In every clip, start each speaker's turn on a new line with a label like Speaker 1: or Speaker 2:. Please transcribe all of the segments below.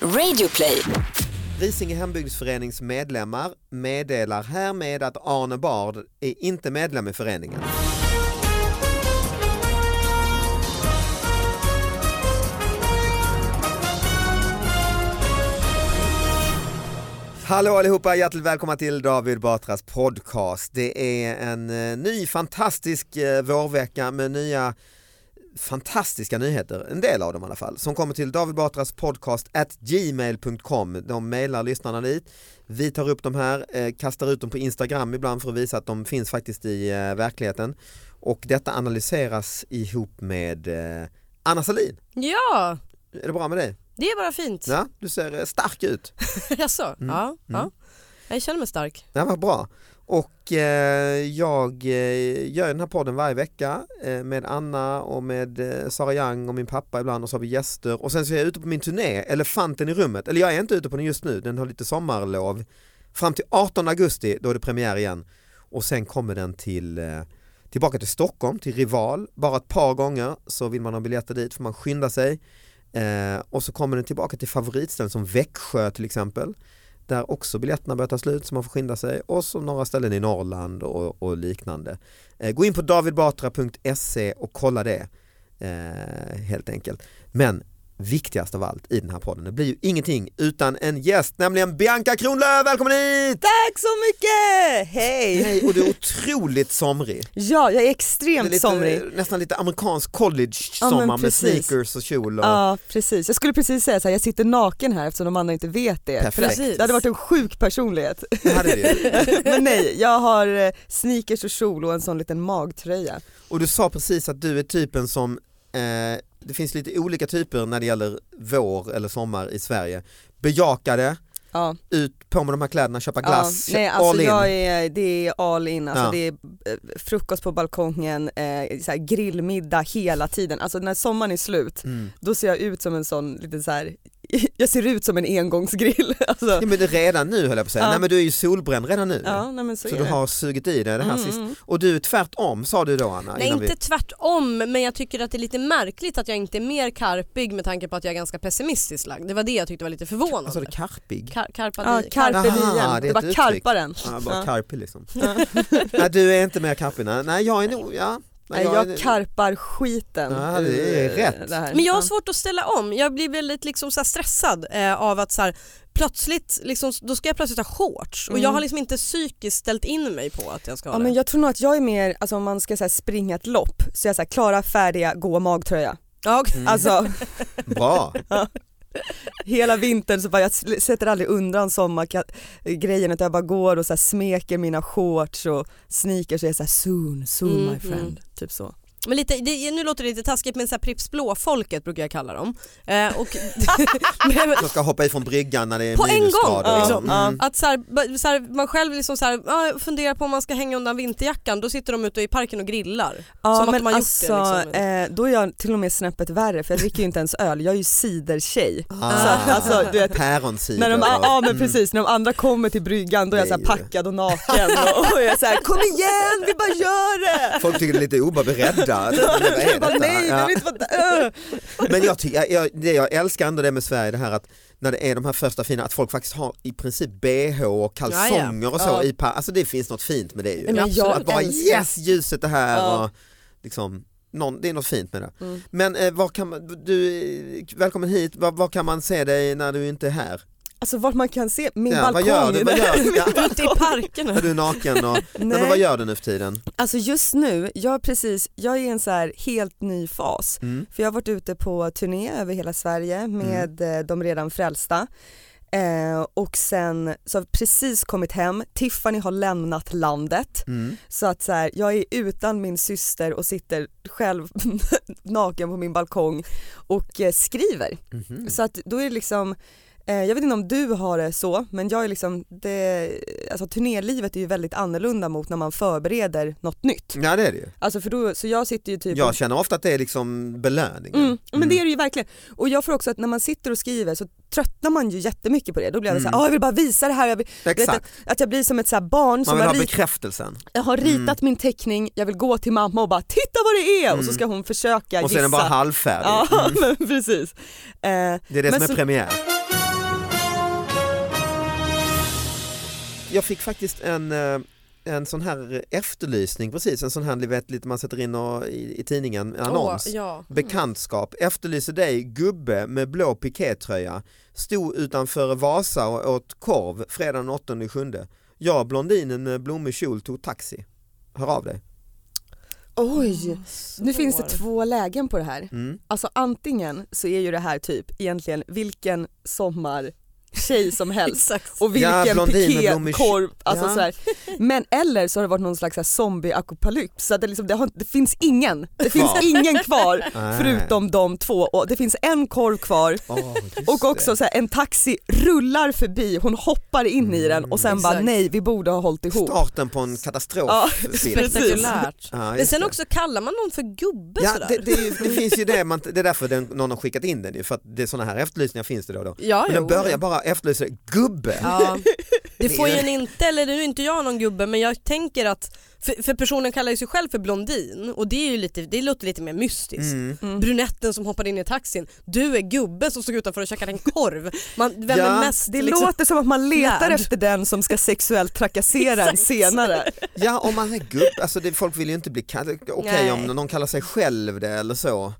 Speaker 1: Radioplay.
Speaker 2: Risinge hembygdsförenings medlemmar meddelar härmed att Arne Bard är inte medlem i föreningen. Hallå allihopa, hjärtligt välkomna till David Batras podcast. Det är en eh, ny fantastisk eh, vårvecka med nya fantastiska nyheter, en del av dem i alla fall, som kommer till David Batras podcast at gmail.com. De mejlar lyssnarna dit. Vi tar upp de här, eh, kastar ut dem på Instagram ibland för att visa att de finns faktiskt i eh, verkligheten. Och detta analyseras ihop med eh, Anna Salin.
Speaker 3: Ja,
Speaker 2: Är det bra med dig?
Speaker 3: det är bara fint.
Speaker 2: Ja, du ser eh, stark ut.
Speaker 3: Jaså?
Speaker 4: Mm.
Speaker 3: Ja, ja. Jag känner mig stark.
Speaker 2: Ja, vad bra. Och eh, jag eh, gör den här podden varje vecka eh, med Anna och med eh, Sara Young och min pappa ibland och så har vi gäster och sen så är jag ute på min turné, Elefanten i rummet, eller jag är inte ute på den just nu, den har lite sommarlov. Fram till 18 augusti, då är det premiär igen och sen kommer den till eh, tillbaka till Stockholm, till Rival, bara ett par gånger så vill man ha biljetter dit får man skynda sig. Eh, och så kommer den tillbaka till favoritställen som Växjö till exempel där också biljetterna börjar ta slut så man får skynda sig och så några ställen i Norrland och, och liknande. Eh, gå in på davidbatra.se och kolla det eh, helt enkelt. Men viktigast av allt i den här podden, det blir ju ingenting utan en gäst, nämligen Bianca Kronlöf, välkommen hit!
Speaker 4: Tack så mycket! Hej!
Speaker 2: Hej, och du är otroligt somrig.
Speaker 4: Ja, jag är
Speaker 2: Det är
Speaker 4: extremt
Speaker 2: lite,
Speaker 4: somrig.
Speaker 2: Nästan lite amerikansk
Speaker 4: Ja,
Speaker 2: college-sommar
Speaker 4: men
Speaker 2: med
Speaker 4: precis.
Speaker 2: sneakers och kjol. Och...
Speaker 4: Ja, precis. Jag skulle precis säga så här, jag sitter naken här eftersom de andra inte vet det.
Speaker 2: Perfekt.
Speaker 4: Det hade varit en sjuk personlighet.
Speaker 2: Det hade du ju.
Speaker 4: Men nej, jag har eh, sneakers och kjol och en sån liten magtröja.
Speaker 2: Och du sa precis att du är typen som, eh, det finns lite olika typer när det gäller vår eller sommar i Sverige. Bejaka det,
Speaker 4: Ja,
Speaker 2: ut på med de här kläderna, köpa
Speaker 4: ja.
Speaker 2: glass,
Speaker 4: Nej, alltså
Speaker 2: all in.
Speaker 4: jag är, det är all in. Alltså
Speaker 2: Ja.
Speaker 4: Det är eh, frukost på balkongen, eh, så här grillmiddag hela tiden. Alltså när sommaren är slut,
Speaker 2: Mm.
Speaker 4: då ser jag ut som en sån liten så här. jag ser ut som en engångsgrill. Alltså,
Speaker 2: Ja, men det redan nu höll jag på att säga,
Speaker 4: Ja.
Speaker 2: nej men du är ju solbränd redan nu.
Speaker 4: ja, nej, men så,
Speaker 2: så
Speaker 4: är
Speaker 2: du
Speaker 4: det.
Speaker 2: har sugit i dig det här
Speaker 4: Mm,
Speaker 2: sist.
Speaker 4: mm.
Speaker 2: Och du är tvärtom sa du då Anna?
Speaker 3: Nej
Speaker 2: innan vi-
Speaker 3: inte tvärtom men jag tycker att det är lite märkligt att jag inte är mer karpig med tanke på att jag är ganska pessimistiskt lagd. Det var det jag tyckte var lite förvånande.
Speaker 2: Vad sa du, karpig?
Speaker 3: Kar- karpa
Speaker 4: Alltså, Ja,
Speaker 3: di-
Speaker 4: carpe
Speaker 2: Aha,
Speaker 4: diem.
Speaker 2: det är
Speaker 4: det
Speaker 2: ett
Speaker 4: var
Speaker 2: uttryck.
Speaker 4: karparen.
Speaker 2: Ja, bara
Speaker 4: Ja.
Speaker 2: karpig liksom.
Speaker 4: Ja.
Speaker 2: nej du är inte mer karpig, nej Nej, jag är nog, ja.
Speaker 4: Nej,
Speaker 2: är-
Speaker 4: jag karpar skiten
Speaker 2: Ja, det är
Speaker 4: ur
Speaker 2: rätt.
Speaker 4: det här.
Speaker 3: Men jag har
Speaker 4: Ja.
Speaker 3: svårt att ställa om. Jag blir väldigt liksom så här stressad eh, av att så här, plötsligt, liksom, då ska jag plötsligt ha shorts och
Speaker 4: Mm.
Speaker 3: jag har liksom inte psykiskt ställt in mig på att jag ska ha
Speaker 4: Ja, men
Speaker 3: det.
Speaker 4: jag tror nog att jag är mer, alltså om man ska så här, springa ett lopp, så jag är så här, klara, färdiga, gå magtröja.
Speaker 3: Ja, okej.
Speaker 2: Mm.
Speaker 4: Alltså
Speaker 2: Bra,
Speaker 4: hela vintern så bara, jag sl- sätter aldrig undan sommargrejen utan jag bara går och så här, smeker mina shorts och sneakers och är så här, soon, soon
Speaker 3: Mm,
Speaker 4: my friend.
Speaker 3: mm.
Speaker 4: Typ så.
Speaker 3: Men lite, det, nu låter det lite taskigt men så här Pripps Blå-folket brukar jag kalla dem. Eh, och, men,
Speaker 2: jag ska hoppa ifrån bryggan när det är
Speaker 3: På en gång,
Speaker 2: minusgrader.
Speaker 3: liksom.
Speaker 2: Mm.
Speaker 3: att så här, ba- så här, man själv liksom så här, ja, funderar på om man ska hänga undan vinterjackan, då sitter de ute i parken och grillar.
Speaker 4: Ja
Speaker 3: Som att
Speaker 4: men
Speaker 3: man gjort
Speaker 4: alltså,
Speaker 3: det, liksom.
Speaker 4: eh, då är jag till och med snäppet värre för jag dricker ju inte ens öl, jag är ju cidertjej. Så att,
Speaker 2: Ah.
Speaker 4: alltså, du vet,
Speaker 2: Päronsider.
Speaker 4: När de,
Speaker 2: och-
Speaker 4: ja men
Speaker 2: Mm.
Speaker 4: precis, när de andra kommer till bryggan då är jag
Speaker 2: Det
Speaker 4: så
Speaker 2: är
Speaker 4: här
Speaker 2: ju-
Speaker 4: packad och naken och, och jag är så här, kom igen vi bara gör det!
Speaker 2: Folk tycker det är lite oberedda.
Speaker 4: Jag bara, nej, jag vill inte Äh." vara där.
Speaker 2: Men jag, ty- jag, jag, det jag älskar ändå det med Sverige, det här att när det är de här första fina, att folk faktiskt har i princip bh och kalsonger och så.
Speaker 3: Ja.
Speaker 2: I pa- alltså det finns något fint med det ju.
Speaker 4: Nej, men jag
Speaker 2: att bara
Speaker 4: älskar-
Speaker 2: yes, ljuset är här
Speaker 4: Ja.
Speaker 2: och liksom, någon, det är något fint med det.
Speaker 4: Mm.
Speaker 2: Men eh, vad kan man, du, välkommen hit, vad, vad kan man se dig när du inte är här?
Speaker 4: Alltså vart man kan se, min
Speaker 2: Ja,
Speaker 4: balkong.
Speaker 2: vad gör du? Vad gör du? Ja,
Speaker 3: Ute i parken.
Speaker 2: när du är naken och, nej. men vad
Speaker 4: Nej,
Speaker 2: gör du nu för tiden?
Speaker 4: alltså just nu, jag är precis, jag är i en så här helt ny fas.
Speaker 2: Mm.
Speaker 4: För jag har varit ute på turné över hela Sverige med
Speaker 2: Mm.
Speaker 4: eh, de redan frälsta. Eh, och sen så har vi precis kommit hem, Tiffany har lämnat landet.
Speaker 2: Mm.
Speaker 4: Så att så här, jag är utan min syster och sitter själv naken på min balkong och eh, skriver.
Speaker 2: Mhm.
Speaker 4: Så att då är det liksom, eh, jag vet inte om du har det så, men jag är liksom, det, alltså turnélivet är ju väldigt annorlunda mot när man förbereder något nytt.
Speaker 2: Ja det är det ju.
Speaker 4: Alltså för då, så jag sitter ju typ
Speaker 2: Mm. Jag känner ofta att det är liksom belöningen.
Speaker 4: Mm, men det är det ju verkligen. Och jag får också att när man sitter och skriver så tröttnar man ju jättemycket på det. Då blir jag
Speaker 2: Mm.
Speaker 4: såhär, ah, jag vill bara visa det här, jag vill, vet
Speaker 2: Exakt,
Speaker 4: att jag blir som ett så här barn
Speaker 2: man
Speaker 4: som
Speaker 2: vill ha
Speaker 4: har rit-
Speaker 2: bekräftelsen.
Speaker 4: jag har ritat min teckning, jag vill gå till mamma och bara titta vad det är och så
Speaker 2: Mm.
Speaker 4: ska hon försöka
Speaker 2: Och sen
Speaker 4: gissa.
Speaker 2: är den bara halvfärdig. Mm.
Speaker 4: Ja men precis. Eh,
Speaker 2: Det är det
Speaker 4: Men
Speaker 2: som är
Speaker 4: så-
Speaker 2: premiär. jag fick faktiskt en, eh, en sån här efterlysning precis, en sån här ni vet, lite man sätter in och, i, i tidningen, annons.
Speaker 3: Åh, ja.
Speaker 2: Bekantskap, efterlyser dig gubbe med blå pikétröja. Stod utanför Vasa och åt korv fredagen 8 sjunde. Jag blondinen med blommig kjol tog taxi. Hör av dig.
Speaker 4: Oj, nu
Speaker 3: Svår.
Speaker 4: finns det två lägen på det här.
Speaker 2: Mm.
Speaker 4: Alltså antingen så är ju det här typ egentligen vilken sommartjej som helst
Speaker 3: Exakt.
Speaker 4: och
Speaker 2: Ja,
Speaker 4: vilken
Speaker 2: blondin med blommig kjol.
Speaker 4: pikékorv, alltså
Speaker 2: Ja.
Speaker 4: så här. Men eller så har det varit någon slags så här zombie-apokalyps så att det, liksom, det, har, det finns ingen, det finns
Speaker 2: Kvar.
Speaker 4: ingen kvar
Speaker 2: Nej.
Speaker 4: förutom de två och det finns en korv kvar
Speaker 2: Åh, Ah, just
Speaker 4: och också
Speaker 2: det.
Speaker 4: så här, en taxi rullar förbi, hon hoppar in i den och sen
Speaker 3: Mm.
Speaker 4: bara
Speaker 3: Exakt.
Speaker 4: nej vi borde ha hållit ihop.
Speaker 2: starten på en katastrof.
Speaker 4: Ja,
Speaker 1: Spektakulärt.
Speaker 3: Men sen också kallar man någon för gubbe
Speaker 2: Ja,
Speaker 3: sådär.
Speaker 2: det, det, är ju- det finns ju det, man, det är därför den, någon har skickat in den ju, för att det är sådana här efterlysningar finns det då och då.
Speaker 3: ja,
Speaker 2: Men
Speaker 3: jo.
Speaker 2: den börjar bara efterlysa gubbe.
Speaker 3: Ja. Det får ju en inte, eller nu är inte jag någon gubbe men jag tänker att, för, för personen kallar ju sig själv för blondin och det, är ju lite, det låter lite mer mystiskt.
Speaker 2: Mm.
Speaker 4: Mm.
Speaker 3: Brunetten som hoppade in i taxin, du är gubben som stod utanför och käkade en korv. Man, vem
Speaker 2: Ja,
Speaker 3: är mest
Speaker 4: Det
Speaker 3: liksom,
Speaker 4: låter som att man letar
Speaker 3: Lärd.
Speaker 4: efter den som ska sexuellt trakassera en
Speaker 3: Exakt.
Speaker 4: senare.
Speaker 2: Ja, om man är gubbe, alltså det, folk vill ju inte bli kallade, okej
Speaker 3: Nej.
Speaker 2: om någon kallar sig själv det eller så,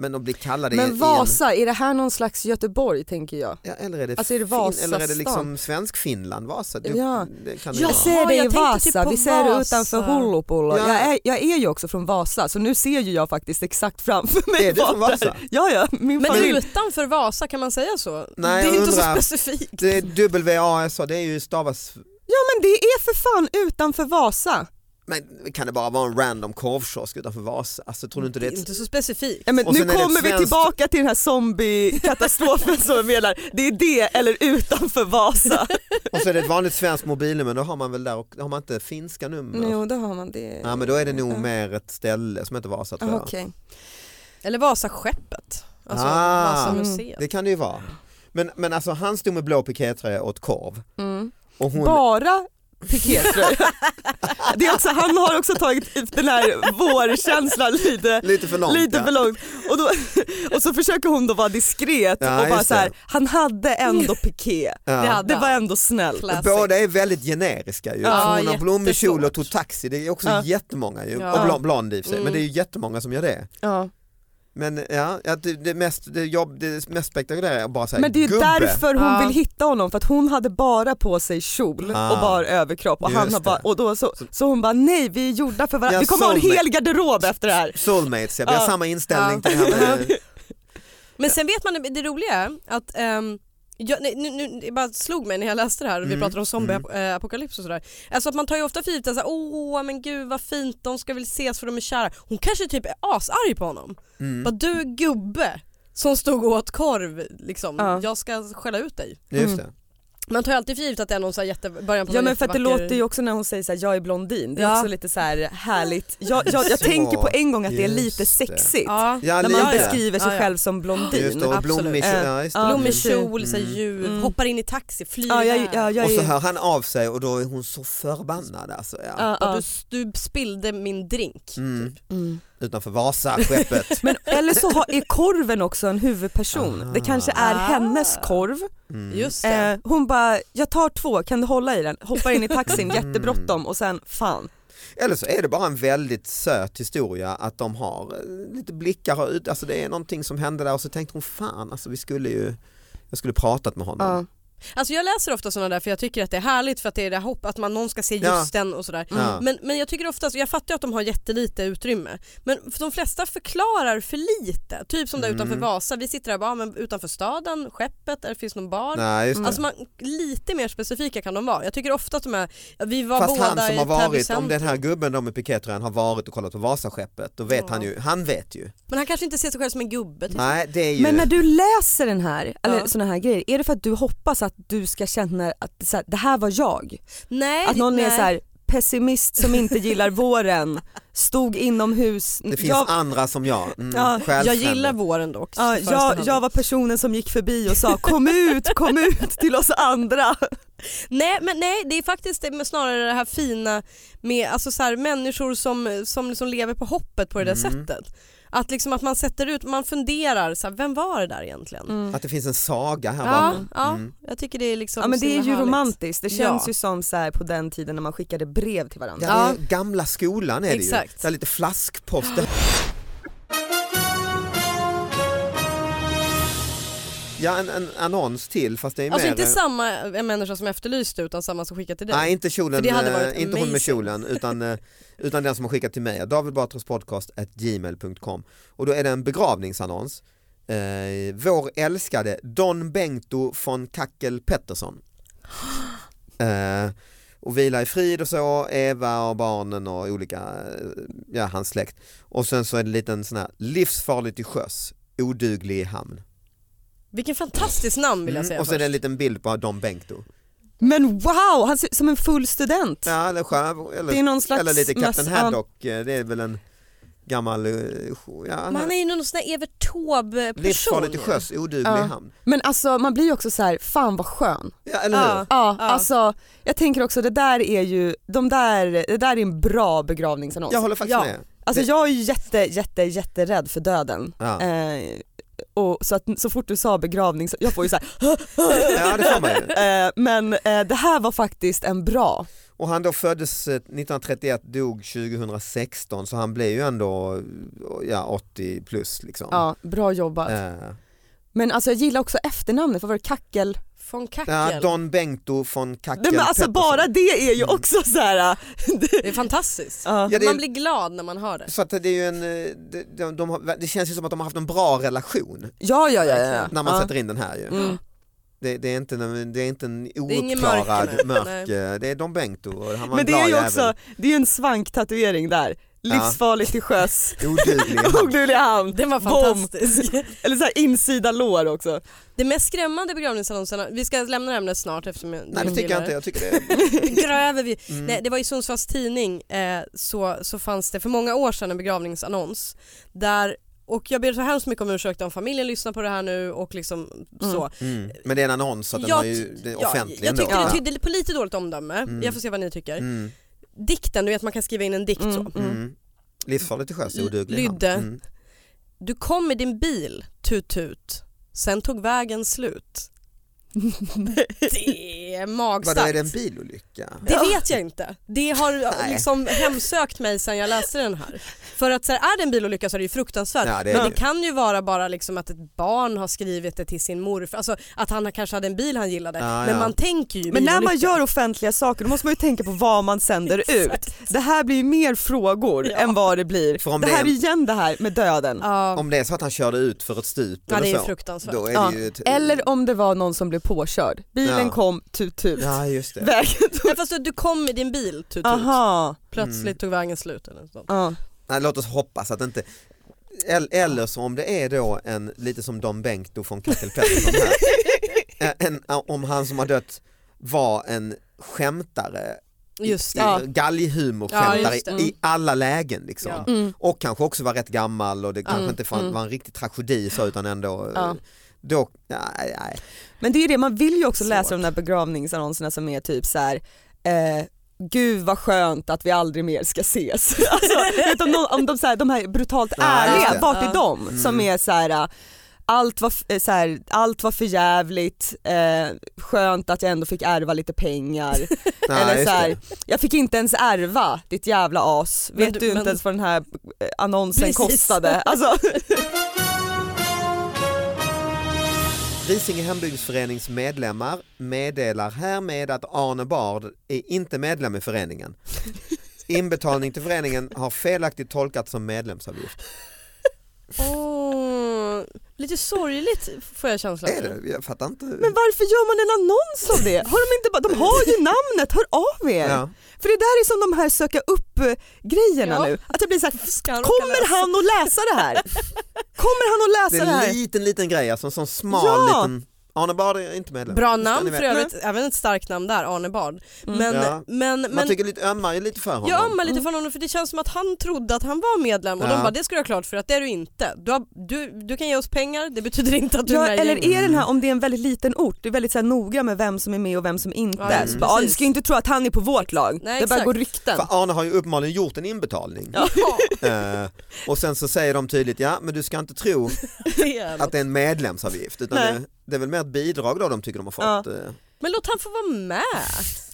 Speaker 2: men att bli kallad i- i
Speaker 4: Men
Speaker 2: en-
Speaker 4: Vasa, är det här någon slags Göteborg tänker jag?
Speaker 2: Ja, eller är det,
Speaker 4: Alltså, är det
Speaker 2: fin-
Speaker 4: Vasastan?
Speaker 2: eller är det liksom Svensk-Finland, Vasa? Det,
Speaker 4: Ja.
Speaker 2: det kan det
Speaker 3: Ja,
Speaker 2: vara.
Speaker 4: Jag ser dig
Speaker 3: jag
Speaker 4: i
Speaker 3: tänkte
Speaker 4: Vasa,
Speaker 3: typ på
Speaker 4: vi ser det
Speaker 3: Vasa.
Speaker 4: utanför Holopulo.
Speaker 2: Ja.
Speaker 4: Jag, är, jag är ju också från Vasa så nu ser ju jag faktiskt exakt framför mig
Speaker 2: Är du från
Speaker 4: Vasa.
Speaker 2: Vasa?
Speaker 4: Ja, ja, min
Speaker 3: Men
Speaker 4: familj.
Speaker 3: utanför Vasa, kan man säga så?
Speaker 2: Nej,
Speaker 3: det är
Speaker 2: jag
Speaker 3: inte
Speaker 2: undrar.
Speaker 3: så specifikt.
Speaker 2: Det är W-A-S-A, det är ju stavas,
Speaker 4: Ja men det är för fan utanför Vasa.
Speaker 2: men kan det bara vara en random korvkiosk utanför Vasa? Alltså tror du inte det
Speaker 3: Det
Speaker 2: är
Speaker 3: är
Speaker 2: ett
Speaker 3: inte så specifikt.
Speaker 4: Ja, men
Speaker 2: Och
Speaker 4: nu
Speaker 2: sen är det ett
Speaker 4: kommer vi
Speaker 2: svenskt-
Speaker 4: tillbaka till den här zombiekatastrofen som jag menar. Det är det eller utanför Vasa.
Speaker 2: Och så är det ett vanligt svenskt mobilnummer, då har man väl där och har man inte finska nummer?
Speaker 4: jo det har man det.
Speaker 2: Ja men då är det nog
Speaker 4: Ja.
Speaker 2: mer ett ställe som heter Vasa tror jag.
Speaker 4: Okej.
Speaker 3: Eller Vasaskeppet. Alltså
Speaker 2: Ah.
Speaker 3: Vasamuseet.
Speaker 2: Det kan det ju vara. Men, men alltså han stod med blå pikétröja och åt korv.
Speaker 4: Mm.
Speaker 2: Och hon,
Speaker 4: Bara pikétröja. det är också, han har också tagit den här vårkänslan lite
Speaker 2: lite för långt
Speaker 4: Lite
Speaker 2: ja.
Speaker 4: för långt. Och, då, och så försöker hon då vara diskret
Speaker 2: Ja,
Speaker 4: och bara
Speaker 2: just
Speaker 4: så här,
Speaker 2: det.
Speaker 4: han hade ändå piké.
Speaker 2: Ja.
Speaker 3: Det hade
Speaker 4: Det var
Speaker 3: han.
Speaker 4: ändå snällt.
Speaker 3: Classic.
Speaker 2: Båda är väldigt generiska ju.
Speaker 3: Ja,
Speaker 2: Alltså, hon har blommig kjol och
Speaker 3: jättesvårt.
Speaker 2: tog taxi, det är också
Speaker 4: Ja.
Speaker 2: jättemånga ju.
Speaker 3: Ja.
Speaker 2: Och blond, blond i och för sig,
Speaker 3: Mm.
Speaker 2: men det är ju jättemånga som gör det.
Speaker 4: Ja.
Speaker 2: Men ja, att det, det, mest, det, jobb, det mest spektakulära är att bara säga
Speaker 4: Men det är ju
Speaker 2: gubbe.
Speaker 4: därför hon
Speaker 3: Ja.
Speaker 4: vill hitta honom för att hon hade bara på sig kjol
Speaker 2: Ah.
Speaker 4: och bar överkropp och, han
Speaker 2: Just
Speaker 4: har bara,
Speaker 2: det.
Speaker 4: och då så, så hon bara nej vi är gjorda för varandra,
Speaker 2: Ja,
Speaker 4: vi kommer ha en
Speaker 2: soulmate.
Speaker 4: hel garderob efter det här.
Speaker 2: Soulmates, ja. vi har
Speaker 4: Ja.
Speaker 2: samma inställning
Speaker 3: Ja.
Speaker 2: till det här med,
Speaker 3: Men sen vet man, det roliga är att ehm, jag, nej, nu, nu, det bara slog mig när jag läste det här och vi
Speaker 2: Mm,
Speaker 3: pratade om zombieapokalyps och sådär. Alltså att man tar ju ofta för givet att så här, åh men gud vad fint de ska väl ses för de är kära. Hon kanske typ är asarg på honom.
Speaker 2: mm.
Speaker 3: Bara du gubbe som stod och åt korv liksom,
Speaker 4: Ja.
Speaker 3: jag ska skälla ut dig.
Speaker 2: just
Speaker 4: mm.
Speaker 2: det.
Speaker 3: Man tar ju alltid för givet att det är någon så här jätte, början på
Speaker 4: Ja
Speaker 3: någon
Speaker 4: men för att det
Speaker 3: jättevacker-
Speaker 4: låter ju också när hon säger så här, jag är blondin, det är
Speaker 3: Ja.
Speaker 4: också lite så här härligt. Jag, jag, jag
Speaker 2: Så,
Speaker 4: tänker på en gång att det är
Speaker 2: just
Speaker 4: lite
Speaker 2: det.
Speaker 4: sexigt
Speaker 3: ja.
Speaker 2: Ja,
Speaker 4: när man
Speaker 2: lite.
Speaker 4: beskriver sig
Speaker 3: Ja, ja.
Speaker 4: själv som blondin.
Speaker 2: Just det, och
Speaker 3: Absolut.
Speaker 2: blommig
Speaker 4: Eh,
Speaker 2: ja, just det.
Speaker 4: ja,
Speaker 3: Blommig
Speaker 4: precis.
Speaker 3: kjol, så här,
Speaker 2: Mm.
Speaker 3: ljuv,
Speaker 4: Mm.
Speaker 3: hoppar in i taxi, flyr
Speaker 4: Ja, jag,
Speaker 3: iväg.
Speaker 4: ja, jag
Speaker 2: Och så
Speaker 4: är,
Speaker 2: hör han av sig och då är hon så förbannad alltså. Ja.
Speaker 4: ja,
Speaker 3: Bara,
Speaker 4: ja.
Speaker 3: du, du spillde min drink.
Speaker 2: Mm.
Speaker 4: Mm.
Speaker 2: Utanför Vasaskeppet.
Speaker 4: Men, eller så har, är korven också en huvudperson.
Speaker 2: Ah.
Speaker 4: Det kanske är
Speaker 3: Ah.
Speaker 4: hennes korv.
Speaker 2: Mm.
Speaker 3: Just det.
Speaker 4: Eh, hon bara, jag tar två, kan du hålla i den? Hoppar in i taxin,
Speaker 2: Mm.
Speaker 4: jättebråttom och sen fan.
Speaker 2: Eller så är det bara en väldigt söt historia att de har eh, lite blickar och ut, alltså det är någonting som hände där och så tänkte hon fan alltså vi skulle ju, jag skulle pratat med honom.
Speaker 4: Ja.
Speaker 3: Alltså jag läser ofta sådana där för jag tycker att det är härligt för att det är det här hopp att man någon ska se
Speaker 2: Ja.
Speaker 3: just den och sådär.
Speaker 2: Ja.
Speaker 3: Mm. Men, men jag tycker oftast, jag fattar ju att de har jättelite utrymme, men för de flesta förklarar för lite. Typ som där
Speaker 2: Mm.
Speaker 3: utanför Vasa, vi sitter där och bara, ja, men utanför staden, skeppet, där finns någon bar.
Speaker 2: Nej, just det.
Speaker 3: Alltså man, lite mer specifika kan de vara. Jag tycker ofta att de är, ja, vi var
Speaker 2: Fast
Speaker 3: båda
Speaker 2: han som
Speaker 3: i
Speaker 2: har
Speaker 3: Täby
Speaker 2: varit,
Speaker 3: centrum.
Speaker 2: om den här gubben då med pikétröjan har varit och kollat på Vasaskeppet, då vet
Speaker 3: Ja.
Speaker 2: han ju, han vet ju.
Speaker 3: Men han kanske inte ser sig själv som en gubbe. typ.
Speaker 2: Nej det är ju,
Speaker 4: Men när du läser den här, eller
Speaker 3: Ja.
Speaker 4: sådana här grejer, är det för att du hoppas att du ska känna att så här, det här var jag?
Speaker 3: Nej,
Speaker 4: Att någon
Speaker 3: nej.
Speaker 4: är så här pessimist som inte gillar våren, stod inomhus.
Speaker 2: det finns
Speaker 4: jag,
Speaker 2: andra som jag. Mm,
Speaker 4: Ja,
Speaker 3: jag
Speaker 2: självständig.
Speaker 3: gillar våren dock.
Speaker 4: ja, jag, jag var personen som gick förbi och sa kom ut, kom ut till oss andra.
Speaker 3: Nej men nej det är faktiskt det- men snarare det här fina med alltså så här, människor som, som liksom lever på hoppet på det där
Speaker 2: Mm.
Speaker 3: sättet. Att, liksom att man sätter ut, man funderar, så här, vem var det där egentligen?
Speaker 4: Mm.
Speaker 2: Att det finns en saga här
Speaker 3: Ja,
Speaker 2: bakom.
Speaker 3: ja
Speaker 2: Mm.
Speaker 3: jag tycker det är liksom
Speaker 4: Ja men
Speaker 3: så
Speaker 4: det är
Speaker 3: himla
Speaker 4: ju
Speaker 3: härligt.
Speaker 4: romantiskt, det känns
Speaker 3: Ja.
Speaker 4: ju som så här på den tiden när man skickade brev till varandra.
Speaker 2: Ja, det är gamla skolan är det ju.
Speaker 3: Exakt.
Speaker 2: Det är lite flaskpost. Ja, en, en annons till fast det är
Speaker 3: Alltså
Speaker 2: mer...
Speaker 3: inte samma eh, människa som efterlyste utan samma som skickade till dig.
Speaker 2: Nej, inte kjolen,
Speaker 3: För det hade
Speaker 2: eh,
Speaker 3: varit
Speaker 2: inte hon med
Speaker 3: amazing.
Speaker 2: kjolen utan, eh, utan den som har skickat till mig, davidbatraspodcast.gmail.com och då är det en begravningsannons. Eh, vår älskade Don Bengto von Kackel Pettersson. Eh, och vila i frid och så, Eva och barnen och olika, eh, ja hans släkt. Och sen så är det en liten sån här, livsfarlig till sjöss, oduglig i hamn.
Speaker 3: Vilken fantastisk namn vill jag
Speaker 2: Mm,
Speaker 3: säga
Speaker 2: och så är det en
Speaker 3: först.
Speaker 2: liten bild på Don Bengto.
Speaker 4: Men wow, han ser ut som en full student.
Speaker 2: Ja, eller skär, eller
Speaker 4: Det är någon slags
Speaker 2: Eller lite Captain
Speaker 4: möss-
Speaker 2: Haddock, eh, det är väl en gammal... eh, jo- Ja,
Speaker 3: Men han är ju någon sån där Evert Taube person.
Speaker 2: livsfarlig till sjöss, oduglig
Speaker 4: Ja.
Speaker 2: i hamn.
Speaker 4: Men alltså man blir ju också så här, fan vad skön.
Speaker 2: Ja, eller
Speaker 3: Ja.
Speaker 2: hur?
Speaker 4: Ja,
Speaker 3: Ja.
Speaker 4: alltså jag tänker också det där är ju, de där, det där är en bra begravningsannons.
Speaker 2: Jag håller faktiskt
Speaker 4: ja.
Speaker 2: med.
Speaker 4: Alltså
Speaker 2: det-
Speaker 4: jag är ju jätte, jätte, jätterädd för döden.
Speaker 2: Ja.
Speaker 4: Eh, och så att så fort du sa begravning, så, jag får ju såhär,
Speaker 2: ja, det får man ju.
Speaker 4: eh, men eh, det här var faktiskt en bra.
Speaker 2: Och han då föddes eh, 1931, dog 2016 så han blev ju ändå eh, ja, 80 plus liksom.
Speaker 4: Ja, bra jobbat.
Speaker 2: Eh,
Speaker 4: Men alltså jag gillar också efternamnet, vad var det, Kackel?
Speaker 3: Von Kackel.
Speaker 2: Ja, Don Bengto von Kackel
Speaker 4: Nej, men alltså
Speaker 2: Pettersson. Mm.
Speaker 4: bara det är ju också så här. eh,
Speaker 3: Det är fantastiskt.
Speaker 4: ja.
Speaker 2: Ja, det,
Speaker 3: Man blir glad när man hör det.
Speaker 2: så att det är ju en, eh, de, de, de, har- det känns ju som att de har haft en bra relation
Speaker 4: Ja, ja, ja. ja.
Speaker 2: när man
Speaker 4: ja.
Speaker 2: sätter in den här ju.
Speaker 4: Mm.
Speaker 2: Det, det, är inte, en- det är inte en
Speaker 3: är ingen
Speaker 2: ouppklarad
Speaker 3: mörker, nej.
Speaker 2: mörk, eh, det är Don Bengto och han var
Speaker 4: Men
Speaker 2: en
Speaker 4: det
Speaker 2: glad
Speaker 4: är ju
Speaker 2: jävel.
Speaker 4: också, det är ju en svanktatuering där. Livsfarligt till sjöss,
Speaker 2: Oduglig.
Speaker 4: oduglig hamn,
Speaker 3: Den var
Speaker 4: Bom.
Speaker 3: fantastisk.
Speaker 4: eller så här insida lår också.
Speaker 3: Det mest skrämmande i begravningsannonserna, vi ska lämna det här ämnet snart eftersom jag
Speaker 2: Nej det tycker jag inte, jag tycker det.
Speaker 3: inte. Gräver vi.
Speaker 2: Mm.
Speaker 3: Nej, det var i Sundsvalls tidning eh, så, så fanns det för många år sedan en begravningsannons där och jag ber så hemskt mycket om ursäkt om familjen lyssnar på det här nu och liksom så.
Speaker 2: Mm. Men det är en annons så att den
Speaker 3: Jag
Speaker 2: var ju det är offentlig
Speaker 3: jag, jag tycker
Speaker 2: ändå.
Speaker 3: det tydde på lite dåligt omdöme,
Speaker 2: Mm.
Speaker 3: jag får se vad ni tycker.
Speaker 2: Mm.
Speaker 3: Dikten, du vet man kan skriva in en dikt
Speaker 4: Mm,
Speaker 3: så.
Speaker 2: Mm. Livsfarligt till sjöss,
Speaker 3: L-
Speaker 2: oduglig.
Speaker 3: lydde.
Speaker 2: hamn. Mm.
Speaker 3: Du kom i din bil, tut tut, sen tog vägen slut. det är magstarkt.
Speaker 2: Vadå är det en bilolycka?
Speaker 3: Det vet jag inte. Det har
Speaker 2: Nej.
Speaker 3: liksom hemsökt mig sen jag läste den här. För att så här, är det en bilolycka så är det ju fruktansvärt.
Speaker 2: Ja, det är det
Speaker 3: men det
Speaker 2: ju.
Speaker 3: kan ju vara bara liksom att ett barn har skrivit det till sin morfar, alltså att han kanske hade en bil han gillade.
Speaker 2: Ja,
Speaker 3: Men
Speaker 2: ja.
Speaker 3: man tänker ju
Speaker 4: Men när man
Speaker 3: bilolycka.
Speaker 4: gör offentliga saker då måste man ju tänka på vad man sänder ut. Det här blir ju mer frågor
Speaker 3: Ja.
Speaker 4: än vad det blir.
Speaker 2: För om
Speaker 4: det
Speaker 2: det är
Speaker 4: här
Speaker 2: en-
Speaker 4: är igen det här med döden.
Speaker 3: Ja,
Speaker 2: Om det är så att han körde ut för ett stup
Speaker 3: ja det är
Speaker 2: eller
Speaker 3: ju
Speaker 2: så,
Speaker 3: fruktansvärt.
Speaker 2: då är
Speaker 4: Ja.
Speaker 2: det ju ett...
Speaker 4: Eller om det var någon som blev påkörd. Bilen
Speaker 2: Ja.
Speaker 4: kom tut tut.
Speaker 2: Ja just det.
Speaker 4: Vägen tog...
Speaker 3: Nej, fast du kom i din bil tut tut,
Speaker 4: Aha.
Speaker 3: plötsligt
Speaker 2: Mm.
Speaker 3: tog vägen slut eller sånt.
Speaker 4: Ja.
Speaker 2: Nej, låt oss hoppas att det inte El- eller så om det är då en, lite som Don Bengto från Kattel Pettersson här, Eh, en, om han som har dött var en skämtare,
Speaker 3: Just det.
Speaker 4: Ja.
Speaker 3: Ja,
Speaker 2: galghumor-skämtare
Speaker 3: just det.
Speaker 2: i alla lägen liksom.
Speaker 3: Ja.
Speaker 4: Mm.
Speaker 2: och kanske också var rätt gammal och det kanske
Speaker 4: Mm,
Speaker 2: inte fan,
Speaker 4: mm.
Speaker 2: var en riktig tragedi så utan ändå eh,
Speaker 4: Ja.
Speaker 2: då, nej, nej.
Speaker 4: Men det är ju det, man vill ju också läsa
Speaker 2: Svårt.
Speaker 4: de där begravningsannonserna som är typ så här. Eh, Gud vad skönt att vi aldrig mer ska ses. alltså, vet, om, någon, om de, så här, de här brutalt
Speaker 2: Ja,
Speaker 4: ärliga,
Speaker 2: just det.
Speaker 4: vart är
Speaker 3: Ja.
Speaker 4: de
Speaker 2: Mm.
Speaker 4: som är så här, eh, allt var, f- eh, så här, allt var för jävligt, eh, skönt att jag ändå fick ärva lite pengar.
Speaker 2: nej
Speaker 4: Eller
Speaker 2: just
Speaker 4: så här,
Speaker 2: det.
Speaker 4: jag fick inte ens ärva ditt jävla as.
Speaker 3: Men
Speaker 4: Vet
Speaker 3: du-
Speaker 4: du, inte
Speaker 3: men-
Speaker 4: ens vad den här eh, annonsen
Speaker 3: Precis.
Speaker 4: kostade? Alltså,
Speaker 2: Risinge hembygdsförenings medlemmar meddelar härmed att Arne Bard är inte medlem i föreningen. Inbetalning till föreningen har felaktigt tolkats som medlemsavgift.
Speaker 3: Åh, lite sorgligt får jag känslan
Speaker 2: Är
Speaker 3: av.
Speaker 2: det? Jag fattar inte.
Speaker 4: men varför gör man en annons av det? Har de, inte, bara- de har ju namnet, hör av er!
Speaker 2: ja.
Speaker 4: För det Alltså där är som de här söka upp eh, grejerna
Speaker 3: Ja.
Speaker 4: nu. Att jag blir så här,
Speaker 3: Ska han råka
Speaker 4: kommer
Speaker 3: läsa?
Speaker 4: han att läsa det här? Kommer han att
Speaker 2: Det
Speaker 4: läsa
Speaker 2: är
Speaker 4: det
Speaker 2: en
Speaker 4: här?
Speaker 2: liten liten grej, alltså en sån smal
Speaker 4: Ja.
Speaker 2: liten Arne Bard är inte medlem.
Speaker 3: Bra
Speaker 2: Just det,
Speaker 3: namn
Speaker 2: ni vet.
Speaker 3: för övrigt, även ett starkt namn där, Arne Bard.
Speaker 4: Mm.
Speaker 3: Men,
Speaker 2: Ja.
Speaker 3: men,
Speaker 2: Man
Speaker 3: men
Speaker 2: tycker lite, ömmar ju lite för honom.
Speaker 3: jag ömmar lite för honom för det känns som att han trodde att han var medlem och de
Speaker 2: Ja.
Speaker 3: bara det ska du ha klart för att det är du inte. Du, har, du, du kan ge oss pengar, det betyder inte att du är
Speaker 4: Ja,
Speaker 3: med i
Speaker 4: eller
Speaker 3: gänget.
Speaker 4: är den här, om det är en väldigt liten ort, det är väldigt så här, noga med vem som är med och vem som inte.
Speaker 3: Ja,
Speaker 4: Ja,
Speaker 2: just
Speaker 4: så bara, "Ja, du
Speaker 3: precis.
Speaker 4: ska ju inte tro att han är på vårt lag,
Speaker 3: Nej,
Speaker 4: det bara
Speaker 3: exakt.
Speaker 4: går rykten.
Speaker 2: För Arne har ju uppenbarligen gjort en inbetalning.
Speaker 3: Ja,
Speaker 2: Eh, och sen så säger de tydligt, ja men du ska inte tro
Speaker 3: det är
Speaker 2: att
Speaker 3: något.
Speaker 2: det är en medlemsavgift utan
Speaker 4: Nej.
Speaker 2: det, det är väl mer ett bidrag då de tycker de har fått.
Speaker 4: Ja.
Speaker 2: eh.
Speaker 3: Men låt han få vara med.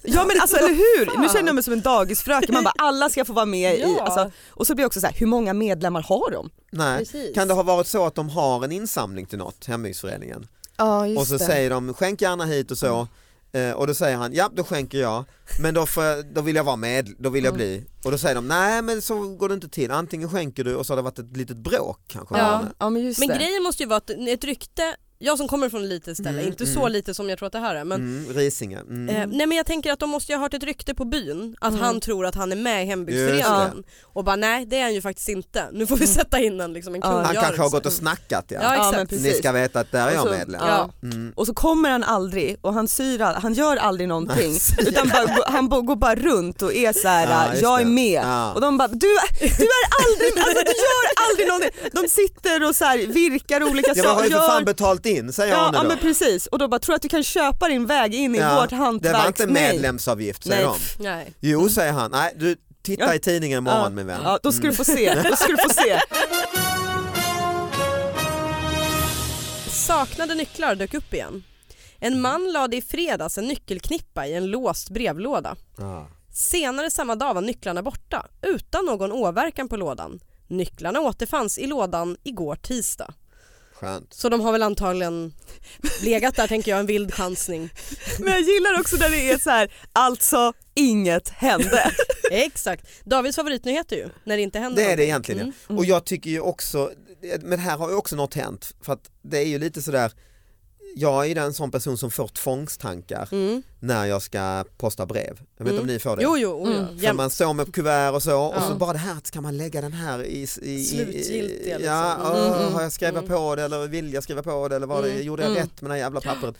Speaker 4: Ja men alltså eller hur, nu
Speaker 3: Fan.
Speaker 4: känner jag mig som en dagisfröken, man bara alla ska få vara med i,
Speaker 3: Ja.
Speaker 4: alltså, och så blir jag också så här, hur många medlemmar har de?
Speaker 2: Nej.
Speaker 3: Precis.
Speaker 2: Kan det ha varit så att de har en insamling till något, hembygdsföreningen?
Speaker 4: Ja
Speaker 2: och så säger de skänk gärna hit och så.
Speaker 4: Mm.
Speaker 2: Eh, och då säger han ja då skänker jag men då, får jag, då vill jag vara med, då vill jag bli. Och då säger de nej men så går det inte till, antingen skänker du och så har det varit ett litet bråk kanske. med
Speaker 4: ja.
Speaker 2: Arne.
Speaker 4: ja men just
Speaker 3: Men
Speaker 4: det.
Speaker 3: grejen måste ju vara att ett rykte, jag som kommer från ett litet ställe,
Speaker 2: Mm,
Speaker 3: inte
Speaker 2: mm.
Speaker 3: så lite som jag tror att det här är men
Speaker 2: Mm, Risinge. Mm.
Speaker 3: Eh, nej men jag tänker att de måste ju ha hört ett rykte på byn att
Speaker 4: Mm.
Speaker 3: han tror att han är med i hembygdsföreningen och bara nej det är han ju faktiskt inte. Nu får vi sätta in en, liksom, en
Speaker 4: Ja. liksom.
Speaker 2: han
Speaker 3: kungörelse.
Speaker 2: kanske har gått och snackat ja.
Speaker 3: Ja,
Speaker 4: ja,
Speaker 3: exakt.
Speaker 4: men
Speaker 2: Ni
Speaker 4: precis. Alltså,
Speaker 2: ska veta att där är
Speaker 4: Och
Speaker 2: jag
Speaker 4: så-
Speaker 2: medlem.
Speaker 3: Ja.
Speaker 2: Mm.
Speaker 4: Och så kommer han aldrig och han syr all, han gör aldrig någonting utan bara, han bara- går bara runt och är så
Speaker 2: Ja,
Speaker 4: här,
Speaker 2: just
Speaker 4: jag är
Speaker 2: det.
Speaker 4: med.
Speaker 2: Ja.
Speaker 4: Och de bara, du, du är aldrig, alltså, du gör aldrig någonting. De sitter och så här, virkar olika
Speaker 2: Jag har
Speaker 4: saker.
Speaker 2: ju för fan
Speaker 4: Gör,
Speaker 2: betalt in säger
Speaker 4: ja,
Speaker 2: Arne
Speaker 4: ja
Speaker 2: då.
Speaker 4: men precis och då bara, tror du att du kan köpa din väg in i
Speaker 2: Ja,
Speaker 4: vårt
Speaker 2: det
Speaker 4: hantverks...
Speaker 2: var inte
Speaker 4: Nej.
Speaker 2: medlemsavgift säger
Speaker 4: Nej.
Speaker 2: de.
Speaker 3: Mm. Nej.
Speaker 2: Jo säger han, nej du titta
Speaker 4: Ja.
Speaker 2: i tidningen imorgon min vän. Mm.
Speaker 4: Ja, då ska du få se. Då ska du få se.
Speaker 3: Saknade nycklar dök upp igen. En man lade i fredags en nyckelknippa i en låst brevlåda.
Speaker 2: Ja.
Speaker 3: Senare samma dag var nycklarna borta utan någon åverkan på lådan. Nycklarna återfanns i lådan igår tisdag.
Speaker 2: Skönt.
Speaker 3: Så de har väl antagligen legat där tänker jag, en vild chansning.
Speaker 4: Men jag gillar också när det är så här, alltså inget hände.
Speaker 3: Exakt. Davids favoritnyheter ju, när det inte händer
Speaker 2: Det är det
Speaker 3: någonting.
Speaker 2: egentligen
Speaker 3: Mm.
Speaker 2: ja. Och jag tycker ju också, men här har ju också något hänt för att det är ju lite sådär jag är ju en sån person som får tvångstankar
Speaker 3: Mm.
Speaker 2: när jag ska posta brev. Jag vet inte
Speaker 3: Mm.
Speaker 2: om ni får det?
Speaker 3: Jo, jo, oh, ja.
Speaker 4: Mm.
Speaker 2: För
Speaker 3: Jämt.
Speaker 2: man står med kuvert och så och
Speaker 3: Ja.
Speaker 2: så bara det här, ska man lägga den här i... i- i i,
Speaker 3: Slutgiltiga, liksom.
Speaker 2: Ja,
Speaker 3: Mm.
Speaker 2: åh,
Speaker 4: Mm.
Speaker 2: har jag skrivit
Speaker 3: Mm.
Speaker 2: på det eller vill jag skriva på det eller vad det,
Speaker 3: Mm.
Speaker 2: gjorde jag
Speaker 4: Mm.
Speaker 2: rätt med det här jävla pappret?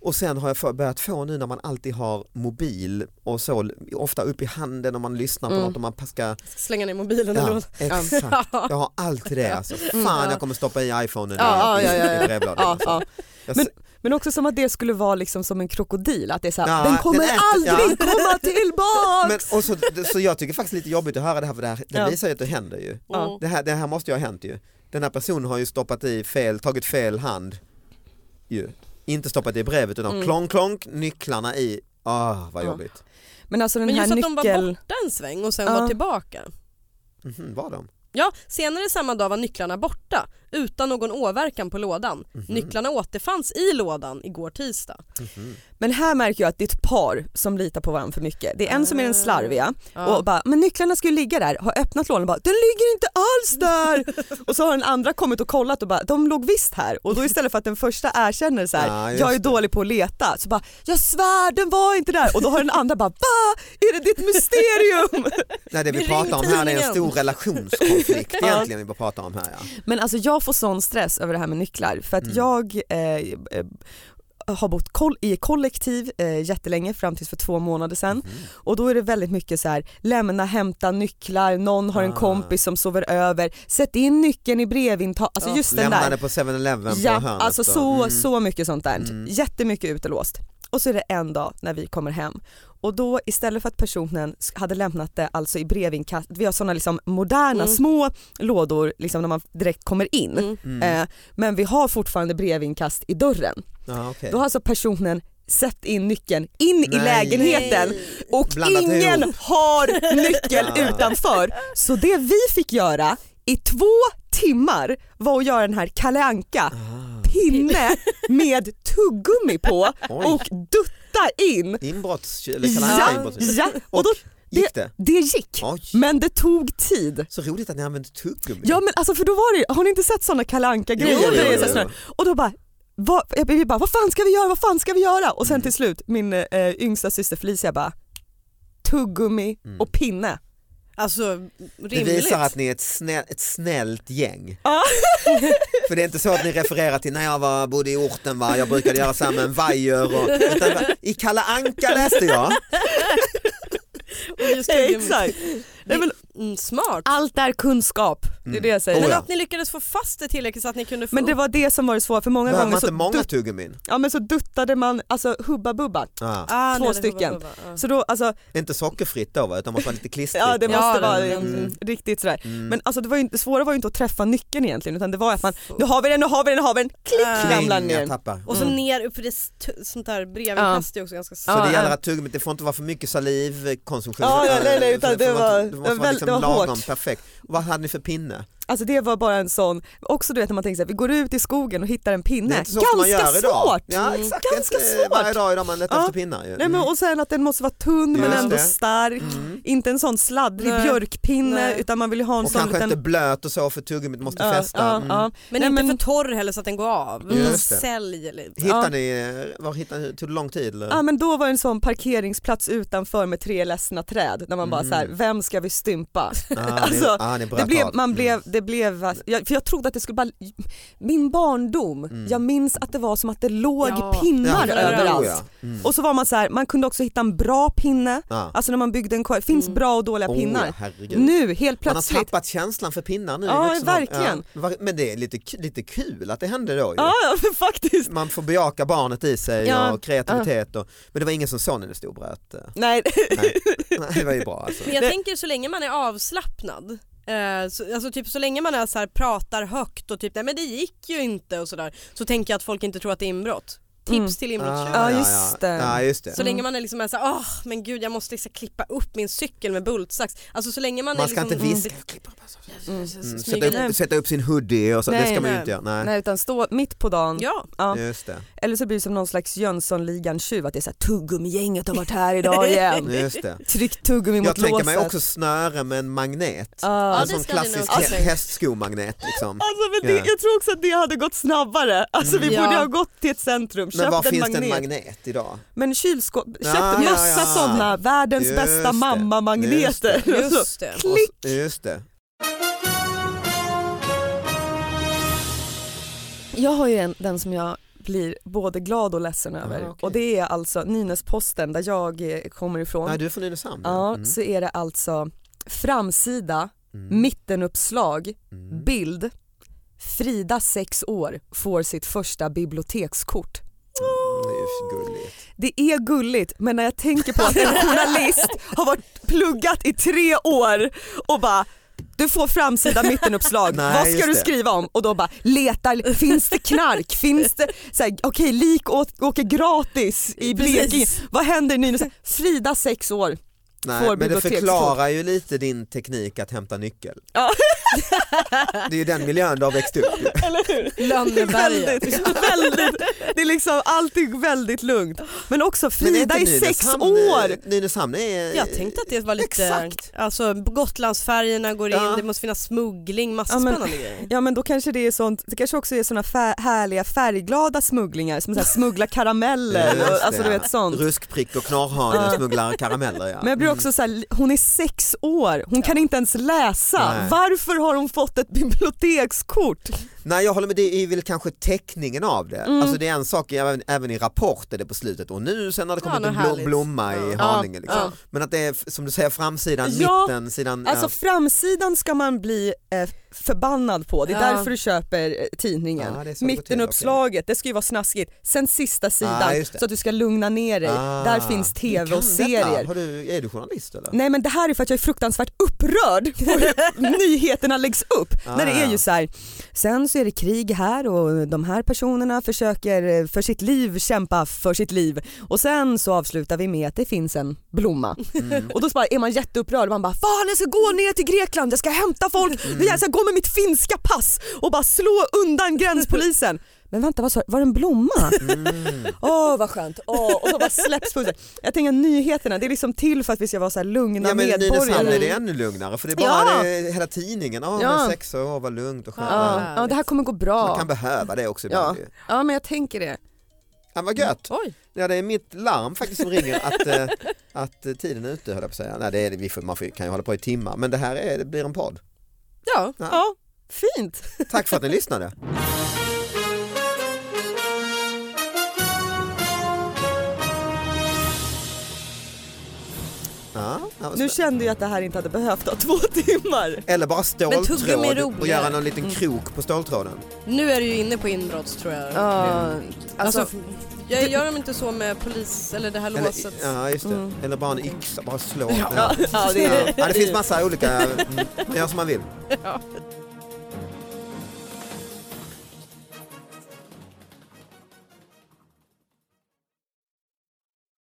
Speaker 2: Och sen har jag för, börjat få nu när man alltid har mobil och så ofta upp i handen om man lyssnar på
Speaker 4: Mm.
Speaker 2: något och man ska...
Speaker 3: Slänga ner mobilen eller
Speaker 2: Ja,
Speaker 3: något.
Speaker 2: exakt. Jag har alltid det alltså. Fan
Speaker 3: Ja.
Speaker 2: jag kommer stoppa i iPhonen
Speaker 4: Mm. Ja,
Speaker 2: i,
Speaker 4: ja, ja,
Speaker 2: i,
Speaker 4: ja.
Speaker 2: i brevlådan.
Speaker 4: Ja,
Speaker 2: alltså.
Speaker 4: ja.
Speaker 2: Jag
Speaker 4: Men-
Speaker 2: s-
Speaker 4: Men också som att det skulle vara liksom som en krokodil, att det är så här,
Speaker 2: Ja,
Speaker 4: den kommer
Speaker 2: den äter-
Speaker 4: aldrig komma tillbaks.
Speaker 2: men, och så, så jag tycker faktiskt lite jobbigt att höra det här för det, här, det
Speaker 4: Ja.
Speaker 2: visar ju att det händer ju.
Speaker 4: Ja.
Speaker 2: Det här, det här måste ju ha hänt ju. Den här personen har ju stoppat i fel, tagit fel hand. Ju. Inte stoppat i brevet utan
Speaker 4: Mm.
Speaker 2: klonk klonk, nycklarna i. Ah, vad
Speaker 4: Ja.
Speaker 2: jobbigt.
Speaker 4: Men alltså den
Speaker 3: Men just
Speaker 4: här
Speaker 3: att de var
Speaker 4: nyckeln,
Speaker 3: borta en sväng och sen
Speaker 4: Ja.
Speaker 3: var tillbaka.
Speaker 2: Mhm, var de?
Speaker 3: Ja, senare samma dag var nycklarna borta utan någon åverkan på lådan.
Speaker 4: Mhm.
Speaker 3: Nycklarna återfanns i lådan igår tisdag.
Speaker 4: men här märker jag att det är ett par som litar på varandra för mycket. Det är en som är den slarviga
Speaker 3: Ah, Ja.
Speaker 4: och bara, men nycklarna ska ju ligga där, har öppnat lådan och bara, den ligger inte alls där. och så har den andra kommit och kollat och bara, de låg visst här. Och då istället för att den första erkänner så här,
Speaker 2: Ja, Ah, just
Speaker 4: jag är dålig på att leta, så bara, jag svär den var inte där. Och då har den andra bara, va? Är det ditt mysterium?
Speaker 2: Nej det vi,
Speaker 3: Vi
Speaker 2: pratar om
Speaker 3: ringde
Speaker 2: här det är en
Speaker 3: tidningen.
Speaker 2: stor relationskonflikt
Speaker 4: Ja.
Speaker 2: egentligen vi bara pratar om här ja.
Speaker 4: Men alltså jag får sån stress över det här med nycklar för att
Speaker 2: Mm.
Speaker 4: jag eh, eh, har bott koll- i kollektiv eh, jättelänge fram tills för två månader sedan
Speaker 2: Mhm.
Speaker 4: och då är det väldigt mycket så här lämna, hämta nycklar, någon har en
Speaker 2: Ah.
Speaker 4: kompis som sover över, sätt in nyckeln i brevintaget, alltså
Speaker 3: Ja.
Speaker 4: just den där.
Speaker 2: Lämnade på 7-Eleven på
Speaker 4: Ja,
Speaker 2: hörnet.
Speaker 4: alltså
Speaker 2: då.
Speaker 4: så,
Speaker 2: Mm.
Speaker 4: så mycket sånt där.
Speaker 2: Mm.
Speaker 4: Jättemycket utelåst. Och så är det en dag när vi kommer hem och då istället för att personen sk- hade lämnat det alltså i brevinkast, vi har sådana liksom moderna
Speaker 3: Mm.
Speaker 4: små lådor liksom när man direkt kommer in.
Speaker 3: Mm.
Speaker 2: Mm.
Speaker 4: Eh, men vi har fortfarande brevinkast i dörren.
Speaker 2: Ja, okej.
Speaker 4: Då har alltså personen sett in nyckeln in
Speaker 2: Eh. Nej.
Speaker 4: i lägenheten och
Speaker 2: Blandat
Speaker 4: ingen
Speaker 2: ihop.
Speaker 4: har nyckel
Speaker 2: Ja.
Speaker 4: utanför. Så det vi fick göra i två timmar var att göra den här Kalle Anka
Speaker 2: Ah,
Speaker 4: pinne med tuggummi på
Speaker 2: oj,
Speaker 4: och dutta in.
Speaker 2: inbrotts... Eller kan han
Speaker 4: Ja,
Speaker 2: säga inbrotts?
Speaker 4: ja, och då,
Speaker 2: Gick det?
Speaker 4: det gick.
Speaker 2: Oj,
Speaker 4: Men det tog tid.
Speaker 2: så roligt att ni använde tuggummi.
Speaker 4: Ja men alltså för då var det ju- har ni inte sett sådana Kalle Anka
Speaker 2: Jo, jo,
Speaker 4: grejer?
Speaker 2: jo, jo, jo.
Speaker 4: Och då bara, vad, jag, vi bara, vad fan ska vi göra, vad fan ska vi göra? Och
Speaker 2: Mm.
Speaker 4: sen till slut min eh, yngsta syster Felicia bara, tuggummi
Speaker 2: Mm.
Speaker 4: och pinne.
Speaker 3: Alltså
Speaker 2: Det
Speaker 3: rimligt.
Speaker 2: visar att ni är ett, snä, ett snällt gäng.
Speaker 4: Ja.
Speaker 2: För det är inte så att ni refererar till när jag var, bodde i orten, va? jag brukade göra så här med en vajer och utan, va? i Kalle Anka läste jag.
Speaker 3: Och just
Speaker 4: Ja,
Speaker 3: tuggen-
Speaker 4: Exakt. Ah, Nej, men
Speaker 3: Mm, smart.
Speaker 4: allt är kunskap, det är det jag säger.
Speaker 2: Oh,
Speaker 3: Men
Speaker 2: ja.
Speaker 3: att ni lyckades få fast det tillräckligt så att ni kunde få
Speaker 4: Men det var det som var det svåra för många
Speaker 2: Behöver man
Speaker 4: gånger
Speaker 2: inte
Speaker 4: så,
Speaker 2: många
Speaker 4: dutt,
Speaker 2: tuggummin?
Speaker 4: ja, men så duttade man alltså hubba bubba.
Speaker 2: Ja.
Speaker 3: Ah,
Speaker 4: två
Speaker 3: nej, det
Speaker 4: stycken.
Speaker 3: var- var- var- ja.
Speaker 4: Så då alltså,
Speaker 2: Inte sockerfritt då va? utan måste vara lite klistrigt.
Speaker 4: ja det
Speaker 2: va?
Speaker 3: Ja,
Speaker 4: måste
Speaker 3: den-
Speaker 4: vara
Speaker 3: den-
Speaker 4: mm, riktigt sådär.
Speaker 2: Mm.
Speaker 4: Men alltså det, var ju, inte- det svåra var ju inte att träffa nyckeln egentligen utan det var att man, nu har vi den, nu har vi den, nu har vi den, klick
Speaker 3: Äh.
Speaker 4: ramlar
Speaker 2: Kling, jag
Speaker 4: ner.
Speaker 2: tappar.
Speaker 3: Och så
Speaker 4: Mm.
Speaker 3: ner upp i det st- sånt där brevinkast är också ganska
Speaker 2: Så
Speaker 4: Ja,
Speaker 2: det gäller
Speaker 4: ja.
Speaker 2: att tuggummit, det får inte vara för mycket salivkonsumtion.
Speaker 4: Ja, ja, nej, nej, utan
Speaker 2: För
Speaker 4: det
Speaker 2: får
Speaker 4: var-
Speaker 2: inte- det måste
Speaker 4: det var
Speaker 2: vara
Speaker 4: väldigt-
Speaker 2: liksom
Speaker 4: det var
Speaker 2: lagom
Speaker 4: hårt.
Speaker 2: perfekt. Vad hade ni för pinne?
Speaker 4: Alltså det var bara en sån, också du vet när man tänker såhär, vi går ut i skogen och hittar en pinne.
Speaker 2: Det är inte så ofta man
Speaker 4: Ganska
Speaker 2: gör idag.
Speaker 4: svårt!
Speaker 2: Ja, exakt. Det är
Speaker 4: Ganska
Speaker 2: inte
Speaker 4: svårt.
Speaker 2: Varje dag idag man letar
Speaker 4: Ja.
Speaker 2: efter pinnar ju.
Speaker 4: Nej, men, och sen att den måste vara tunn men
Speaker 2: Just
Speaker 4: ändå
Speaker 2: det.
Speaker 4: stark.
Speaker 2: Mm.
Speaker 4: Inte en sån sladdrig
Speaker 3: Nej.
Speaker 4: björkpinne
Speaker 3: Nej.
Speaker 4: utan man vill ju ha en
Speaker 2: Och
Speaker 4: sån
Speaker 2: kanske
Speaker 4: liten...
Speaker 2: inte blöt och så för tuggummit måste
Speaker 4: Ja,
Speaker 2: fästa.
Speaker 4: ja,
Speaker 2: Mm.
Speaker 4: ja.
Speaker 3: Men
Speaker 4: Nej,
Speaker 3: inte
Speaker 4: men-
Speaker 3: för torr heller så att den går av.
Speaker 2: Just det.
Speaker 3: Sälj lite.
Speaker 2: Hittar
Speaker 4: Ja.
Speaker 2: ni, var hittar ni, tog det lång tid? Eller?
Speaker 4: Ja men då var det en sån parkeringsplats utanför med tre ledsna träd där man bara
Speaker 2: Mm.
Speaker 4: så här, vem ska vi stympa?
Speaker 2: ah,
Speaker 4: alltså,
Speaker 2: ni, ah, ni bröt
Speaker 4: Det blev,
Speaker 2: av.
Speaker 4: man
Speaker 2: Mm.
Speaker 4: blev, det blev, jag, för jag trodde att det skulle bara, min barndom,
Speaker 2: Mm.
Speaker 4: jag minns att det var som att det låg
Speaker 3: Ja.
Speaker 4: pinnar
Speaker 2: Ja,
Speaker 4: överallt.
Speaker 2: oh ja. Mm.
Speaker 4: Och så var man så här, man kunde också hitta en bra pinne,
Speaker 2: Ja.
Speaker 4: alltså när man byggde en korg, finns
Speaker 3: Mm.
Speaker 4: bra och dåliga
Speaker 2: Oh,
Speaker 4: pinnar.
Speaker 2: ja, herregud.
Speaker 4: Nu helt
Speaker 2: Man har
Speaker 4: plötsligt,
Speaker 2: tappat känslan för pinnar nu. i
Speaker 4: Ja,
Speaker 2: vuxen ålder.
Speaker 4: verkligen.
Speaker 2: Ja. Var- Men det är lite, ku- lite kul att det hände då. Ju.
Speaker 4: ja ja, faktiskt.
Speaker 2: Man får bejaka barnet i sig
Speaker 4: Ja.
Speaker 2: och kreativitet. Och, men det var ingen som såg när det stod bröt. eh.
Speaker 4: Nej,
Speaker 2: Nej. Nej, det var ju bra alltså.
Speaker 3: Men jag
Speaker 4: Det-
Speaker 3: tänker så länge man är avslappnad eh, så, alltså typ så länge man är så här, pratar högt och typ nej men det gick ju inte och sådär så tänker jag att folk inte tror att det är inbrott. Tips
Speaker 4: Mm.
Speaker 3: till
Speaker 2: Ah,
Speaker 3: inbrottstjuvar.
Speaker 4: Ja, just det.
Speaker 2: Ja, just det.
Speaker 3: Så länge man är liksom är så här, åh men gud jag måste liksom klippa upp min cykel med bultsax. Alltså så länge man,
Speaker 2: Man
Speaker 3: är
Speaker 2: ska
Speaker 3: liksom,
Speaker 2: inte viska.
Speaker 4: Mm.
Speaker 2: Mm,
Speaker 3: smyga
Speaker 2: sätta, upp,
Speaker 4: Nej.
Speaker 2: sätta upp sin hoodie och så, det
Speaker 4: Nej,
Speaker 2: ska man ju
Speaker 3: nej.
Speaker 2: inte göra. Nej.
Speaker 4: Nej utan stå mitt på dagen,
Speaker 3: Ja,
Speaker 4: ja.
Speaker 2: Just det.
Speaker 4: eller så blir det som någon slags Jönssonligan-tjuv att det är såhär tuggummigänget har varit här idag igen.
Speaker 2: Just det.
Speaker 4: Tryck tuggummi
Speaker 2: Jag
Speaker 4: mot låset.
Speaker 2: tänker mig också snöre med en magnet.
Speaker 4: Ja.
Speaker 2: en sån
Speaker 3: ska ni nog
Speaker 2: klassisk
Speaker 3: också
Speaker 2: hä-
Speaker 3: tänka.
Speaker 2: hästsko-magnet. Liksom.
Speaker 4: Alltså, men det,
Speaker 2: Ja.
Speaker 4: Jag tror också att det hade gått snabbare. Alltså, vi
Speaker 3: Mm.
Speaker 4: borde
Speaker 3: Ja.
Speaker 4: ha gått till ett centrum, köpt
Speaker 2: Men var
Speaker 4: en
Speaker 2: finns
Speaker 4: magnet.
Speaker 2: det en magnet idag?
Speaker 4: men kylskåp, köpt
Speaker 2: Ja, ja,
Speaker 4: massa
Speaker 2: ja.
Speaker 4: sådana, världens
Speaker 2: Just
Speaker 4: bästa
Speaker 2: det.
Speaker 4: mamma-magneter. Alltså,
Speaker 3: just det.
Speaker 2: Och
Speaker 4: Klick!
Speaker 2: så- Just det.
Speaker 4: Jag har ju en, den som jag blir både glad och ledsen över
Speaker 2: Ah, okej.
Speaker 4: och det är alltså Nynäsposten där jag eh, kommer ifrån.
Speaker 2: Nej, du är från Nynäshamn?
Speaker 4: ja,
Speaker 2: Mm.
Speaker 4: Så är det alltså framsida,
Speaker 2: Mm.
Speaker 4: mittenuppslag,
Speaker 2: Mm.
Speaker 4: bild, Frida sex år får sitt första bibliotekskort.
Speaker 2: Det är ju gulligt.
Speaker 4: Det är gulligt men när jag tänker på att en journalist har varit pluggat i tre år och bara du får framsida mittenuppslag,
Speaker 2: Nej,
Speaker 4: vad ska
Speaker 2: just
Speaker 4: du
Speaker 2: det.
Speaker 4: skriva om? Och då bara letar, finns det knark? Finns det, så här, okej lik å- åker gratis i Blekinge,
Speaker 3: Precis.
Speaker 4: vad händer i Nynäshamn? Frida sex år.
Speaker 2: Nej,
Speaker 4: Får
Speaker 2: men det
Speaker 4: bibliotekskort.
Speaker 2: förklarar ju lite din teknik att hämta nyckel.
Speaker 4: Ja.
Speaker 2: Det är ju den miljön du har växt upp i.
Speaker 4: Det är
Speaker 3: Lönneberga.
Speaker 4: väldigt, väldigt, det är liksom allting väldigt lugnt. Men också
Speaker 2: Men är inte
Speaker 4: Frida i sex
Speaker 2: Nynäshamn- eh,
Speaker 4: år.
Speaker 2: Nynäshamn är...
Speaker 3: Jag tänkte att det var lite,
Speaker 2: Exakt.
Speaker 3: alltså Gotlandsfärjorna går in,
Speaker 2: Ja.
Speaker 3: det måste finnas smuggling, massa
Speaker 4: Ja, men-
Speaker 3: spännande grejer.
Speaker 4: Ja men då kanske det är sånt, det kanske också är såna fär- härliga färgglada smugglingar som så här smugglar karameller
Speaker 2: Just
Speaker 4: och, alltså
Speaker 2: det.
Speaker 4: du vet sånt.
Speaker 2: Ruskprick och knarrhane
Speaker 4: Ja.
Speaker 2: smugglar karameller ja.
Speaker 4: Men jag blir också så här, hon är sex år, hon kan inte ens läsa.
Speaker 2: Nej.
Speaker 4: Varför har hon fått ett bibliotekskort?
Speaker 2: Nej jag håller med, det är väl kanske teckningen av det.
Speaker 4: Mm.
Speaker 2: Alltså det är en sak, även, även i Rapport är det på slutet och nu sen har det
Speaker 3: Ja,
Speaker 2: kommit
Speaker 3: något
Speaker 2: en blom,
Speaker 3: härligt.
Speaker 2: blomma i
Speaker 3: Ja.
Speaker 2: Haninge. Liksom.
Speaker 3: Ja.
Speaker 2: Men att det är som du säger framsidan,
Speaker 4: Ja,
Speaker 2: mitten, sidan...
Speaker 4: Alltså
Speaker 2: ja.
Speaker 4: framsidan ska man bli eh, förbannad på, det är
Speaker 3: Ja.
Speaker 4: därför du köper eh, tidningen.
Speaker 2: Ja, det är så det går till,
Speaker 4: Mittenuppslaget, det ska ju vara snaskigt. Sen sista sidan
Speaker 2: Ah, just det.
Speaker 4: så att du ska lugna ner dig.
Speaker 2: Ah.
Speaker 4: Där
Speaker 2: Du
Speaker 4: finns
Speaker 2: kan
Speaker 4: tv
Speaker 2: detta.
Speaker 4: och serier.
Speaker 2: Har du, är du journalist eller?
Speaker 4: Nej men det här är för att jag är fruktansvärt upprörd på hur nyheterna läggs upp.
Speaker 2: Ah,
Speaker 4: när det är
Speaker 2: ja.
Speaker 4: ju så här, sen så är det krig här och de här personerna försöker eh, för sitt liv kämpa för sitt liv. Och sen så avslutar vi med att det finns en blomma.
Speaker 2: Mm.
Speaker 4: Och då så bara är man jätteupprörd och man bara fan jag ska gå ner till Grekland, jag ska hämta folk,
Speaker 2: Mm.
Speaker 4: jag ska gå med mitt finska pass och bara slå undan gränspolisen. Men vänta vad sa du, var det en blomma?
Speaker 2: Mm.
Speaker 4: Åh vad skönt, Åh, och så bara släpps pulsen. Jag tänker nyheterna, det är liksom till för att vi ska vara så här lugna
Speaker 2: Ja men i Nynäshamn
Speaker 4: medborgare.
Speaker 2: är det ännu lugnare för det är bara
Speaker 4: Ja.
Speaker 2: det, hela tidningen, oh,
Speaker 4: Ja.
Speaker 2: men sex år, åh, vad lugnt och skönt.
Speaker 4: Ja, ja, det här kommer gå
Speaker 2: Man
Speaker 4: bra.
Speaker 2: kan behöva det också
Speaker 4: Ja.
Speaker 2: ibland ju.
Speaker 4: ja men jag tänker det.
Speaker 2: Han var gött.
Speaker 3: Oj,
Speaker 2: Ja, det är mitt larm faktiskt som ringer att, eh, att eh, tiden är ute höll jag på att säga. Nej, det är, det. vi får, man får, kan ju hålla på i timmar men det här är, det blir en podd.
Speaker 3: ja.
Speaker 2: Ja.
Speaker 4: Ja, fint.
Speaker 2: Tack för att ni lyssnade. Ja, ja,
Speaker 4: Nu kände jag att det här inte hade behövt ha två timmar.
Speaker 2: Eller bara
Speaker 3: tuggummi är
Speaker 2: ståltråd och
Speaker 3: roligare.
Speaker 2: göra någon liten
Speaker 4: Mm.
Speaker 2: krok på ståltråden.
Speaker 3: Nu är du ju inne på inbrott tror jag.
Speaker 4: Ja,
Speaker 3: Alltså,
Speaker 4: alltså,
Speaker 3: jag gör dem inte så med polis eller det här
Speaker 2: Eller,
Speaker 3: låset.
Speaker 2: ja, just det.
Speaker 4: Mm.
Speaker 2: Eller bara en yxa, bara slå.
Speaker 4: ja, ja, det
Speaker 2: Ja.
Speaker 4: är
Speaker 2: Ja, det finns massa olika, mm, man gör som man vill.
Speaker 3: Ja.